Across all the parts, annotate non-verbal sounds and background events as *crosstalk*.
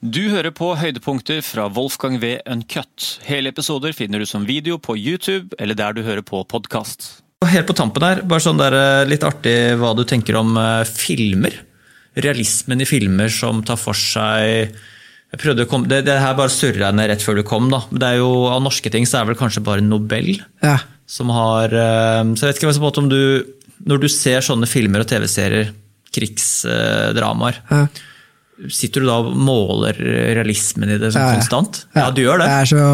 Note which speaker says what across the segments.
Speaker 1: Du hører på høydepunkter fra Wolfgang V. Uncut. Hele episoder finner du som video på YouTube eller der du hører på podkast.
Speaker 2: Helt på tampen her, bare sånn der, eh, litt artig hva du tenker om eh, filmer. Realismen i filmer som tar for seg jeg prøvde å komme, det, det her bare surra jeg ned rett før du kom. da. Men det er jo, Av norske ting så er det vel kanskje bare Nobel
Speaker 3: Ja.
Speaker 2: som har eh, Så jeg vet ikke hva som på en måte om du, Når du ser sånne filmer og TV-serier, krigsdramaer,
Speaker 3: Ja.
Speaker 2: sitter du da og måler realismen i det sånn
Speaker 3: Ja, ja.
Speaker 2: konstant? Ja, du gjør det?
Speaker 3: Jeg er så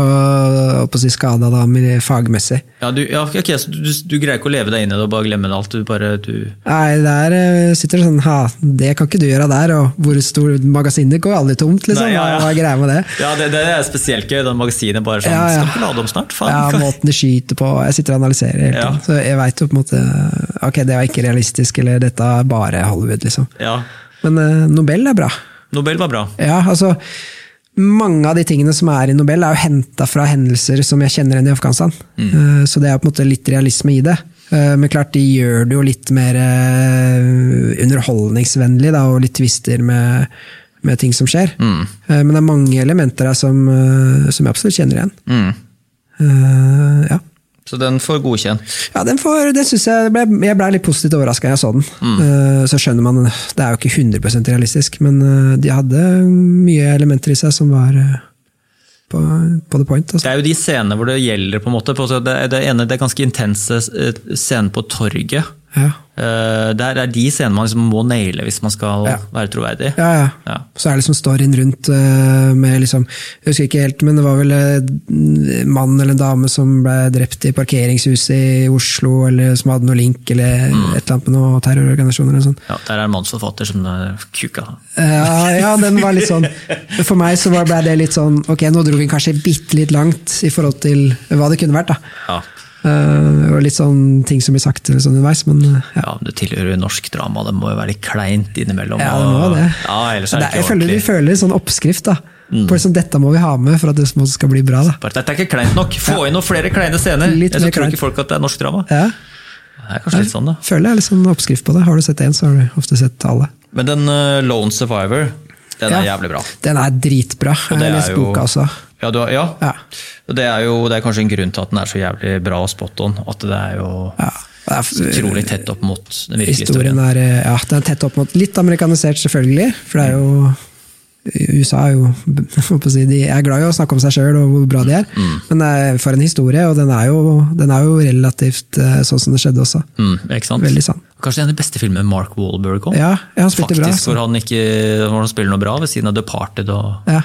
Speaker 3: holdt på å si, skada da, men fagmessig.
Speaker 2: Ja, du, ja, ok, så du, du greier ikke å leve deg inn i det og bare glemme det alt? Du bare, du...
Speaker 3: Nei, der eh, sitter det sånn ha, Det kan ikke du gjøre der, og hvor stort magasin det går aldri tomt, liksom.
Speaker 2: Nei, ja, ja.
Speaker 3: Hva er greia med det?
Speaker 2: Ja, det, det er spesielt gøy, den magasinet bare sånn
Speaker 3: Ja, ja.
Speaker 2: Skal ikke lade om snart, faen.
Speaker 3: Ja, måten de skyter på. Jeg sitter og analyserer hele
Speaker 2: Ja.
Speaker 3: tiden. Så jeg veit jo på en måte Ok, det var ikke realistisk, eller dette er bare Hollywood, liksom.
Speaker 2: ja.
Speaker 3: Men eh, Nobel er bra.
Speaker 2: Nobel var bra.
Speaker 3: Ja, altså mange av de tingene som er i Nobel, er jo henta fra hendelser som jeg kjenner igjen i Afghanistan. Eh, Så det er på en måte litt realisme i det. Eh, Men klart, de gjør det jo litt mer eh, underholdningsvennlig, da, og litt twister med, med ting som skjer. Eh, Men det er mange elementer her som, eh, som jeg absolutt kjenner igjen. Eh, Ja.
Speaker 2: Mm. Så den får godkjent.
Speaker 3: Ja, den, får, den synes jeg ble, Jeg ble litt positivt overraska da jeg så den. Eh, så skjønner man Det er jo ikke 100 realistisk, men eh, de hadde mye elementer i seg som var eh, på, på the point.
Speaker 2: Det
Speaker 3: Altså.
Speaker 2: er jo de scenene hvor det gjelder, på en måte. på- så Det, det ene det er ganske intense eh, scenen på torget.
Speaker 3: Ja.
Speaker 2: Eh, Det er, det er de scenene man liksom må naile hvis man skal
Speaker 3: Ja.
Speaker 2: være troverdig.
Speaker 3: Ja, ja.
Speaker 2: Ja.
Speaker 3: Så er det liksom storyen rundt eh, med liksom Jeg husker ikke helt, men det var vel en mann eller en dame som ble drept i parkeringshuset i Oslo, eller som hadde noe link eller et eller annet med noen terrororganisasjoner. eller sånn. noe sånt.
Speaker 2: Ja, der er en mannsforfatter som eh, er kuka.
Speaker 3: Ja, ja, den var litt sånn For meg så var- ble det litt sånn Ok, nå dro vi kanskje bitte litt langt i forhold til hva det kunne vært, da.
Speaker 2: Ja.
Speaker 3: Eh, og litt sånn ting som blir sagt eller sånn underveis, men eh, ja.
Speaker 2: ja, det tilhører jo norsk drama, det må jo være litt kleint innimellom.
Speaker 3: ja det
Speaker 2: og-
Speaker 3: må det.
Speaker 2: Ja, ellers er det
Speaker 3: Det er- jeg
Speaker 2: ikke
Speaker 3: føler,
Speaker 2: ordentlig. Mm.
Speaker 3: vi føler en sånn oppskrift, da. På liksom, dette må vi ha med for at det som skal bli bra, da.
Speaker 2: Bare, Dette er ikke kleint nok. Få inn noen flere kleine scener.
Speaker 3: Litt
Speaker 2: Ellers så
Speaker 3: mer
Speaker 2: tror
Speaker 3: kleint.
Speaker 2: ikke folk at det er norsk drama.
Speaker 3: Ja,
Speaker 2: Det er kanskje litt sånn, da.
Speaker 3: føler jeg er litt sånn oppskrift på det. Har du sett én, så har du ofte sett alle.
Speaker 2: Men den eh, Lone Survivor, den er
Speaker 3: Ja.
Speaker 2: jævlig bra.
Speaker 3: Den er dritbra. Jeg
Speaker 2: det er
Speaker 3: har lest
Speaker 2: jo-
Speaker 3: boka også.
Speaker 2: Ja, du, har- ja.
Speaker 3: Ja.
Speaker 2: Og Det er jo det er kanskje en grunn til at den er så jævlig bra og spot on. At det er jo
Speaker 3: Ja, det er-
Speaker 2: utrolig tett opp mot den virkelige
Speaker 3: Historien
Speaker 2: historien.
Speaker 3: er, eh, ja, den er tett opp mot Litt amerikanisert, selvfølgelig. For det er jo USA er jo *laughs* jeg holdt på å si, De er glad i å snakke om seg sjøl og hvor bra de er. Men det er for en historie, og den er jo, den er jo relativt eh, sånn som det skjedde også.
Speaker 2: Mm, ikke sant?
Speaker 3: Veldig sann.
Speaker 2: Kanskje det er den beste filmen Mark Wahlberg om?
Speaker 3: Ja, ja, han spilte
Speaker 2: Faktisk,
Speaker 3: bra. altså.
Speaker 2: hvor, han ikke, hvor han spiller noe bra ved siden av Departed og
Speaker 3: Ja,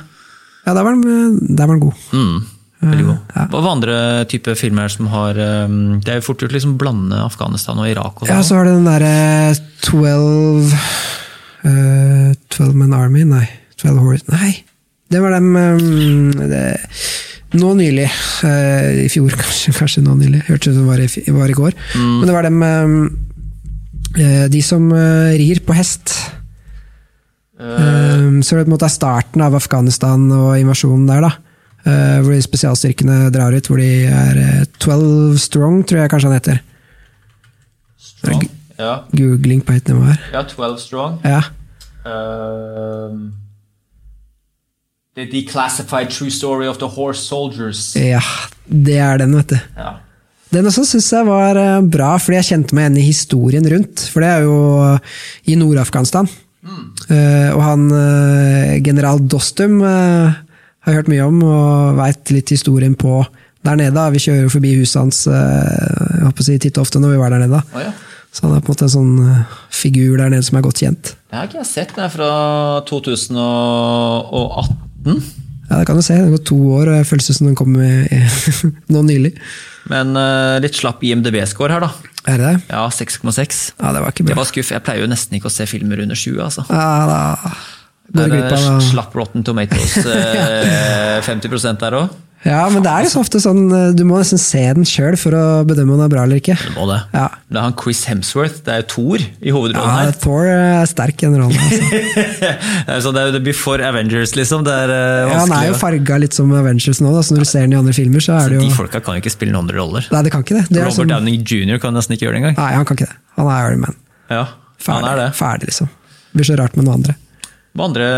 Speaker 3: ja der, var den, eh, der var den god.
Speaker 2: mm, Veldig god.
Speaker 3: Eh,
Speaker 2: Hva var andre type filmer som har um, Det er jo fort gjort å liksom blande Afghanistan og Irak og sånn.
Speaker 3: Ja, så var det den derre Twelve uh, Twelve Men Army, nei. Twelve Horse, nei. Det var dem eh, det, Nå nylig. eh, I fjor, *laughs* kanskje. kanskje nå nylig. Hørtes ut som det var i, fi- var i går. Men det var dem eh, eh, De som eh, rir på hest. Eh, så det på en måte er starten av Afghanistan og invasjonen der, da. Eh, hvor de spesialstyrkene drar ut, hvor de er eh, twelve strong, tror jeg kanskje han heter.
Speaker 2: Strong. Ja.
Speaker 3: Googling på høyt nivå her.
Speaker 2: ja, 12 Strong.
Speaker 3: Ja.
Speaker 2: Um, the declassified true story of the horse soldiers.
Speaker 3: ja, det er den, vet du.
Speaker 2: Ja.
Speaker 3: Den også syns jeg var eh, bra, fordi jeg kjente meg igjen i historien rundt. For det er jo i Nord-Afghanistan. Eh, og han eh, general Dostum eh, har jeg hørt mye om, og veit litt historien på der nede. da. Vi kjører jo forbi huset hans eh, jeg håper å si, titt og ofte når vi var der nede. da.
Speaker 2: Å ja.
Speaker 3: Så han er på en måte en sånn eh, figur der nede som er godt kjent.
Speaker 2: Det har ikke jeg sett. Den er fra 2018.
Speaker 3: Ja, Det kan du se. Det går to år, og jeg føles ut som den kom i- i- *laughs* nå nylig.
Speaker 2: Men eh, litt slapp IMDb-score her, da.
Speaker 3: Er det det?
Speaker 2: Ja, 6,6.
Speaker 3: Ja, det var ikke
Speaker 2: Det
Speaker 3: bra.
Speaker 2: var skuff. Jeg pleier jo nesten ikke å se filmer under 20, altså.
Speaker 3: Ja, da
Speaker 2: Det
Speaker 3: går du glipp
Speaker 2: er
Speaker 3: av
Speaker 2: slapp Rotten Tomatoes.
Speaker 3: *laughs*
Speaker 2: eh, 50 der òg.
Speaker 3: Ja, men det er liksom ofte sånn eh, Du må nesten se den sjøl for å bedømme om den er bra eller ikke.
Speaker 2: Må det.
Speaker 3: Ja.
Speaker 2: Det er han Chris Hemsworth. Det er jo Thor i
Speaker 3: Ja,
Speaker 2: hovedrollen her. Eh,
Speaker 3: Thor eh, er sterk i den rollen.
Speaker 2: *laughs*
Speaker 3: Altså.
Speaker 2: Så det er jo det Before Avengers, liksom. Det er eh,
Speaker 3: Ja, han
Speaker 2: vanskelig.
Speaker 3: er jo farga litt som Avengers nå, da, så når du ser den i andre filmer, så er det jo
Speaker 2: De folka kan jo ikke spille noen andre roller.
Speaker 3: Nei, det kan ikke det. det er
Speaker 2: Robert
Speaker 3: sånn...
Speaker 2: Downing jr. kan nesten ikke gjøre det engang.
Speaker 3: Nei, han kan ikke det. Han er Iron Man.
Speaker 2: Ja,
Speaker 3: Ferdig,
Speaker 2: han er det.
Speaker 3: Ferdig liksom. Det blir så rart med noen andre.
Speaker 2: Hva andre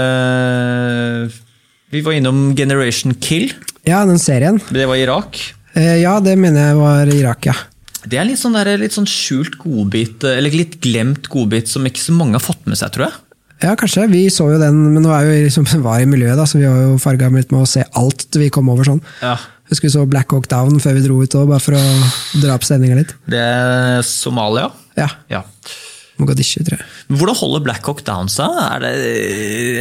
Speaker 2: Vi var innom Generation Kill.
Speaker 3: Ja, den serien.
Speaker 2: Det var Irak.
Speaker 3: Eh, Ja, det mener jeg var Irak, ja.
Speaker 2: Det er en litt sånn, der, litt sånn skjult godbit, eller litt glemt godbit, som ikke så mange har fått med seg, tror jeg.
Speaker 3: Ja, kanskje. Vi så jo den, men nå er vi liksom, *laughs* var i miljøet, da, så vi var jo farga litt med å se alt vi kom over sånn.
Speaker 2: Ja.
Speaker 3: Husker vi så Black Hawk Down før vi dro ut òg, bare for å dra opp stemninga litt.
Speaker 2: Det er Somalia.
Speaker 3: Ja.
Speaker 2: Ja.
Speaker 3: Mogadishu, tror jeg.
Speaker 2: Men Hvordan holder Black Hawk Down seg? Er det,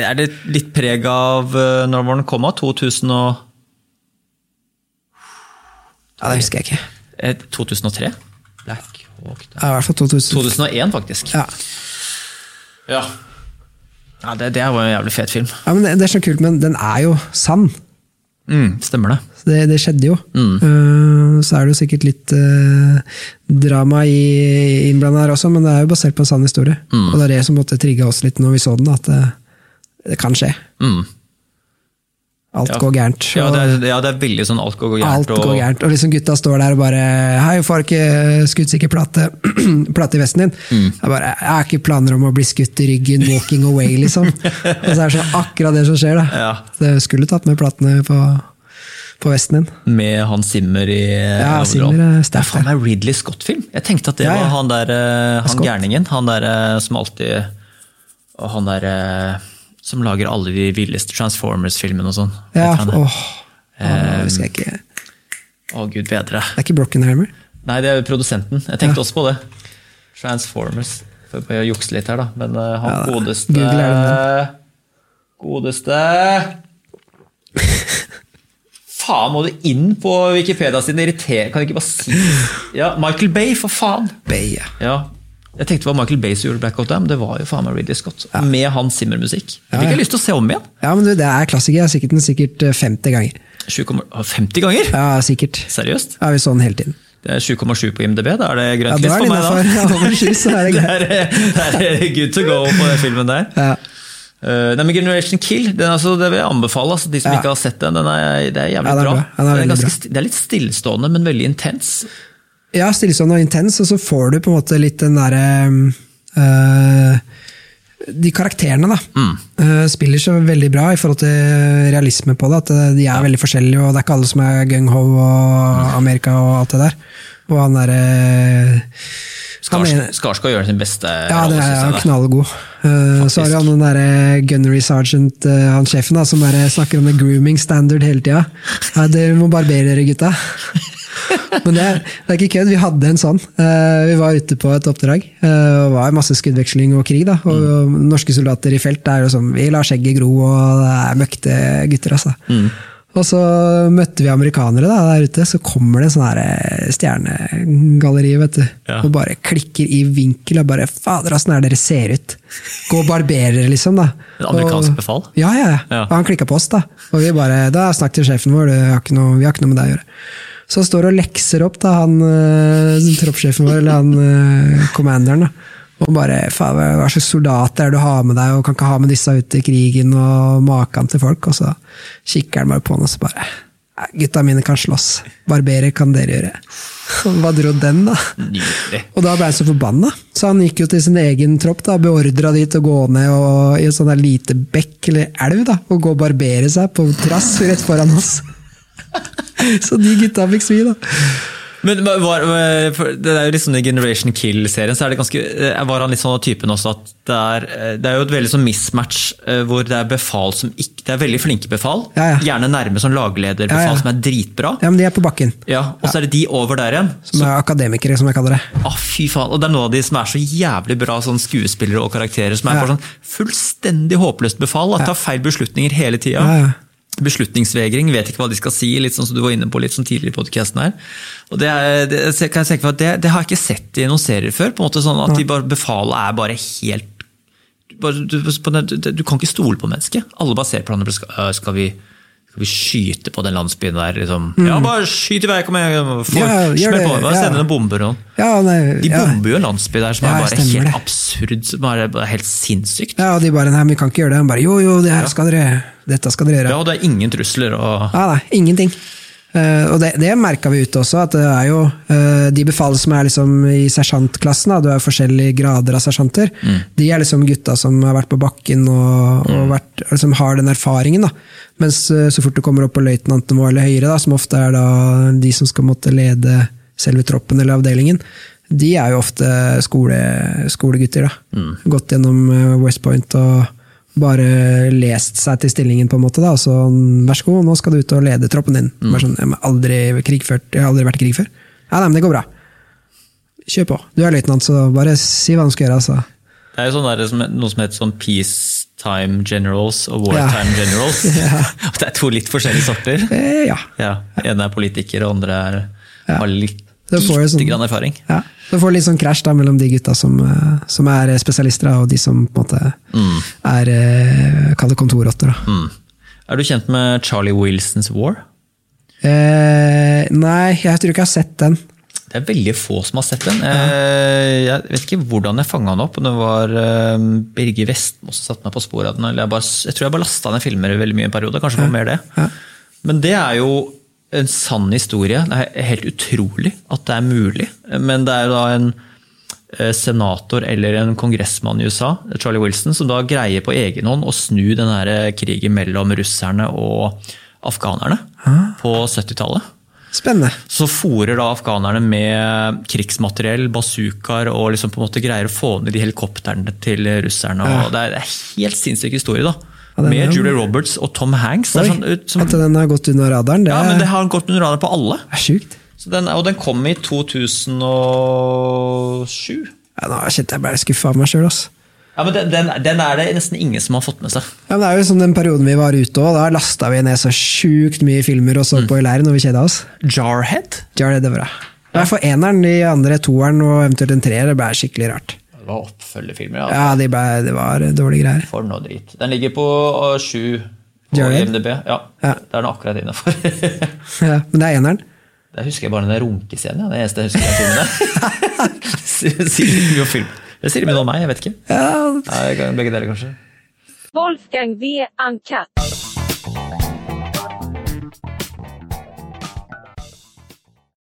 Speaker 2: er det litt preg av eh, når var den kom? av? 2000 og,
Speaker 3: Ja, Det husker jeg ikke.
Speaker 2: eh, 2003? Black Hawk Down.
Speaker 3: Ja, I hvert fall 2000.
Speaker 2: 2001, faktisk.
Speaker 3: Ja.
Speaker 2: Ja. ja det, det var en jævlig fet film.
Speaker 3: ja, men det, det er så kult, men den er jo sann.
Speaker 2: Mm, stemmer det.
Speaker 3: Så Det, det skjedde jo.
Speaker 2: Mm.
Speaker 3: Eh, så er det jo sikkert litt eh, drama i innblanda her også, men det er jo basert på en sann historie.
Speaker 2: Mm.
Speaker 3: Og det er det som måtte trigge oss litt når vi så den, at det, det kan skje.
Speaker 2: Mm.
Speaker 3: Alt
Speaker 2: Ja.
Speaker 3: går gærent.
Speaker 2: Ja,
Speaker 3: og-
Speaker 2: det er, ja, det er veldig sånn alt går gærent.
Speaker 3: Alt går
Speaker 2: og-
Speaker 3: gærent. Og liksom gutta står der og bare 'Hei, får ikke skuddsikker plate, *clears throat* plate i vesten din?'
Speaker 2: Mm.
Speaker 3: Jeg bare 'Jeg har ikke planer om å bli skutt i ryggen, walking away',
Speaker 2: *laughs*
Speaker 3: liksom. og så er det sånn akkurat det som skjer, da.
Speaker 2: Ja.
Speaker 3: Det skulle tatt med platene på, på vesten din.
Speaker 2: Med Hans Zimmer i
Speaker 3: Ja, Zimmer er sterk,
Speaker 2: Det er faen meg Ridley Scott-film. Jeg tenkte at det
Speaker 3: Ja, ja.
Speaker 2: var han der, eh, han
Speaker 3: Scott.
Speaker 2: gærningen. Han der eh, som alltid og Han der eh, som lager alle de villeste Transformers-filmene og sånn. Vet
Speaker 3: Ja,
Speaker 2: han det?
Speaker 3: åh. Åh, husker jeg ikke. Det
Speaker 2: Å, gud bedre.
Speaker 3: er ikke Brockenhammer?
Speaker 2: Nei, det er jo produsenten. Jeg tenkte også på det. Transformers. Får bare jukse litt her, da. Men eh, han
Speaker 3: Ja, da.
Speaker 2: godeste
Speaker 3: Google er
Speaker 2: Godeste Faen, må du inn på Wikipedia sin? Irriterer. Kan du ikke bare si Ja, Michael Bay, for faen!
Speaker 3: Bay, ja.
Speaker 2: Ja. Jeg tenkte det var Michael Bay som gjorde Black Hot Dam. Det var jo faen meg Ridley Scott. Med hans Zimmer-musikk. Jeg
Speaker 3: Ja,
Speaker 2: fikk
Speaker 3: ja.
Speaker 2: jeg lyst til å se om igjen.
Speaker 3: Ja, men du, det er klassiker. Jeg har sikkert den sikkert eh, 50 ganger.
Speaker 2: 7,- å, 50 ganger?
Speaker 3: Ja, sikkert.
Speaker 2: Seriøst?
Speaker 3: Ja, vi så den hele tiden.
Speaker 2: Det er 7,7 på IMDb. Da er det
Speaker 3: Ja,
Speaker 2: grønt
Speaker 3: det
Speaker 2: lys
Speaker 3: var
Speaker 2: for meg, da.
Speaker 3: innafor. Ja, over sju, så er det
Speaker 2: *laughs*
Speaker 3: greit.
Speaker 2: Det er, det er good to go på den filmen der.
Speaker 3: Ja.
Speaker 2: Eh, nei, men Generation Kill den er altså, det vil jeg anbefale. Altså, de som
Speaker 3: Ja.
Speaker 2: ikke har sett den, den er, det er jævlig
Speaker 3: Ja, den er
Speaker 2: bra.
Speaker 3: bra. Den er
Speaker 2: det,
Speaker 3: veldig
Speaker 2: er ganske,
Speaker 3: bra.
Speaker 2: sti- det er litt stillestående, men veldig intens.
Speaker 3: Ja, stillestående og intens, og så får du på en måte litt den derre eh, De karakterene, da. eh, spiller så veldig bra i forhold til realisme på det. At eh, de er veldig forskjellige, og det er ikke alle som er gung-ho og Amerika og alt det der. uh, Og han derre
Speaker 2: Skars, Skarsgård gjør sin beste
Speaker 3: ja, det
Speaker 2: rolle,
Speaker 3: er
Speaker 2: synes jeg,
Speaker 3: han
Speaker 2: da.
Speaker 3: knallgod. Eh, så har
Speaker 2: Faktisk.
Speaker 3: han den derre gunnery sergeant, eh, han sjefen, da, som bare snakker om the grooming standard hele tida. Ja, dere må barbere dere, gutta. *laughs* Men det, det er ikke kødd. Vi hadde en sånn. Eh, vi var ute på et oppdrag. eh, og det var masse skuddveksling og krig. da, og
Speaker 2: Mm.
Speaker 3: Norske soldater i felt det er jo sånn Vi lar skjegget gro, og det er møkte gutter, altså.
Speaker 2: Mm.
Speaker 3: Og så møtte vi amerikanere da, der ute, så kommer det en sånn her, eh, stjernegalleri, vet du.
Speaker 2: Ja.
Speaker 3: Og bare klikker i vinkel og bare Fader, åssen er dere ser ut? Gå og barberer dere, liksom, da.
Speaker 2: En amerikansk
Speaker 3: Og-
Speaker 2: befal?
Speaker 3: Ja, ja. ja.
Speaker 2: Ja.
Speaker 3: Og han klikka på oss, da. Og vi bare Da snakk til sjefen vår, det har ikke noe, vi har ikke noe med deg å gjøre. Så han står og lekser opp da, han eh, troppssjefen vår, eller han eh, commanderen, da. Og bare faen, hva hva slags soldater er det du har med deg, og kan ikke ha med disse ute i krigen, og maken til folk. Og så kikker han bare på han, og så bare «Nei, Gutta mine kan slåss. Barberer kan dere gjøre. *laughs* Hva dro den, da?
Speaker 2: Nydelig.
Speaker 3: Og da ble han så forbanna, så han gikk jo til sin egen tropp, da, beordra de til å gå ned og, i et sånt der lite bekk eller elv da, og gå og barbere seg på trass rett foran oss. *laughs* Så de gutta fikk svi, da.
Speaker 2: Men var, var- for det er jo liksom i Generation Kill-serien så er det ganske, eh, var han litt sånn av typen også at det er, eh, det er jo et veldig sånn mismatch eh, hvor det er befal som ikke, det er veldig flinke befal,
Speaker 3: Ja, ja.
Speaker 2: gjerne nærme sånn laglederbefal
Speaker 3: Ja, ja.
Speaker 2: som er dritbra,
Speaker 3: Ja, Men de er på bakken,
Speaker 2: ja, og så er det de over der igjen.
Speaker 3: som er akademikere, som jeg kaller det.
Speaker 2: Ah, fy faen, og Det er noen av de som er så jævlig bra sånn skuespillere og karakterer, som er
Speaker 3: Ja.
Speaker 2: bare sånn fullstendig håpløst befal. Da, tar feil beslutninger hele tida.
Speaker 3: Ja, ja.
Speaker 2: Beslutningsvegring, vet ikke hva de skal si. litt sånn som du var inne på litt sånn tidligere i podcasten her. Og det, er, det, jeg kan tenke meg at det, det har jeg ikke sett i noen serier før. på en måte sånn At de bare befalet er bare helt bare, du, på den, du, du kan ikke stole på mennesket. Alle bare ser på hverandre. Skal, øh, skal, vi, skal vi skyte på den landsbyen der? Liksom. Ja, bare skyt i vei! Kom igjen! få-
Speaker 3: Mm. Ja, gjør
Speaker 2: Smell
Speaker 3: det,
Speaker 2: på! Bare
Speaker 3: ja.
Speaker 2: Send en bombe! eller noe.
Speaker 3: Ja, nei,
Speaker 2: De
Speaker 3: ja.
Speaker 2: bomber jo en landsby der som
Speaker 3: Ja,
Speaker 2: er bare
Speaker 3: stemmer
Speaker 2: helt
Speaker 3: det.
Speaker 2: absurd, som er bare helt sinnssykt.
Speaker 3: ja, og de bare Nei, men vi kan ikke gjøre det. Han bare Jo, jo, det her skal dere, dette skal dere gjøre.
Speaker 2: Ja, og det er ingen trusler og
Speaker 3: Ja, nei, ingenting. Eh, og det, det merka vi ute også, at det er jo eh, de befal som er liksom i sersjantklassen, da, du har jo forskjellige grader av sersjanter, de er liksom gutta som har vært på bakken og, og vært, liksom har den erfaringen. da. Mens eh, så fort du kommer opp på løytnantnivå eller høyere, da, som ofte er da de som skal måtte lede selve troppen eller avdelingen, de er jo ofte skole, skolegutter. da. Gått gjennom eh, West Point og bare lest seg til stillingen, på en måte. da, så Vær så god, nå skal du ut og lede troppen din.
Speaker 2: Mm.
Speaker 3: Bare sånn, jeg, har aldri krigført, jeg har aldri vært i krig før. Ja, nei, men det går bra. Kjør på. Du er løytnant, så bare si hva du skal gjøre. altså.
Speaker 2: Det er jo sånn der, som- noe som heter sånn peacetime generals og wartime
Speaker 3: Ja. *laughs*
Speaker 2: generals. Og Det er to litt forskjellige sorter.
Speaker 3: Eh, ja.
Speaker 2: Ja, ene er politiker, og andre er,
Speaker 3: Ja.
Speaker 2: har litt,
Speaker 3: Det får jo
Speaker 2: lite
Speaker 3: sånn-
Speaker 2: grann erfaring.
Speaker 3: ja. Du får litt sånn krasj da, mellom de gutta som, eh, som er spesialister, da, og de som på en måte er eh, Kall det kontorrotter. da.
Speaker 2: Mm. Er du kjent med Charlie Wilsons War?
Speaker 3: Eh, nei, jeg tror ikke jeg har sett den.
Speaker 2: Det er veldig få som har sett den. Eh, Jeg vet ikke hvordan jeg fanga den opp. om Det var eh, Birger Vestmo som satte meg på sporet av den. Eller jeg, bare, jeg tror jeg bare lasta ned filmer veldig mye i en periode. Kanskje det var mer det. Men det er jo en sann historie. Det er helt utrolig at det er mulig. Men det er da en eh, senator eller en kongressmann i USA, Charlie Wilson, som da greier på egen hånd å snu den her eh, krigen mellom russerne og afghanerne på 70-tallet.
Speaker 3: Spennende.
Speaker 2: Så fôrer da afghanerne med krigsmateriell, bazookaer, og liksom på en måte greier å få ned de helikoptrene til russerne. Og det er en helt sinnssyk historie, da.
Speaker 3: Ja, den er
Speaker 2: Med
Speaker 3: jo-
Speaker 2: Julie Roberts og Tom Hanks.
Speaker 3: Oi,
Speaker 2: Det er sånn, ut som,
Speaker 3: At den har gått under radaren, det,
Speaker 2: ja, men det har gått under radaren på alle.
Speaker 3: er sjukt.
Speaker 2: Så den, og den kom i 2007.
Speaker 3: Ja, nå kjente jeg ble skuffa av meg sjøl.
Speaker 2: Ja, men den, den, den er det nesten ingen som har fått med seg.
Speaker 3: Ja, men det er jo sånn den perioden vi var ute òg. Da lasta vi ned så sjukt mye filmer og så på i leiren når vi kjeda oss.
Speaker 2: Jarhead?
Speaker 3: Gjør det, det bra. I hvert fall eneren, de andre toeren og eventuelt en treer. Det ble skikkelig rart.
Speaker 2: Det var oppfølgefilmer, ja.
Speaker 3: Ja, de ble, Det var dårlige greier. *laughs*
Speaker 2: For noe drit. Den ligger på øh, sju på
Speaker 3: Jarhead?
Speaker 2: IMDb. Ja,
Speaker 3: Ja.
Speaker 2: Det er den akkurat innafor. *laughs*
Speaker 3: Ja, men det er eneren.
Speaker 2: Der husker jeg bare den der runkescenen. ja. Det er det eneste jeg husker fra filmen. *laughs* der. sier sier mye om film. Det sier mye om meg, jeg vet ikke.
Speaker 3: Ja,
Speaker 2: Nei, jeg kan- begge deler, kanskje.
Speaker 4: Wolfgang V. Uncut.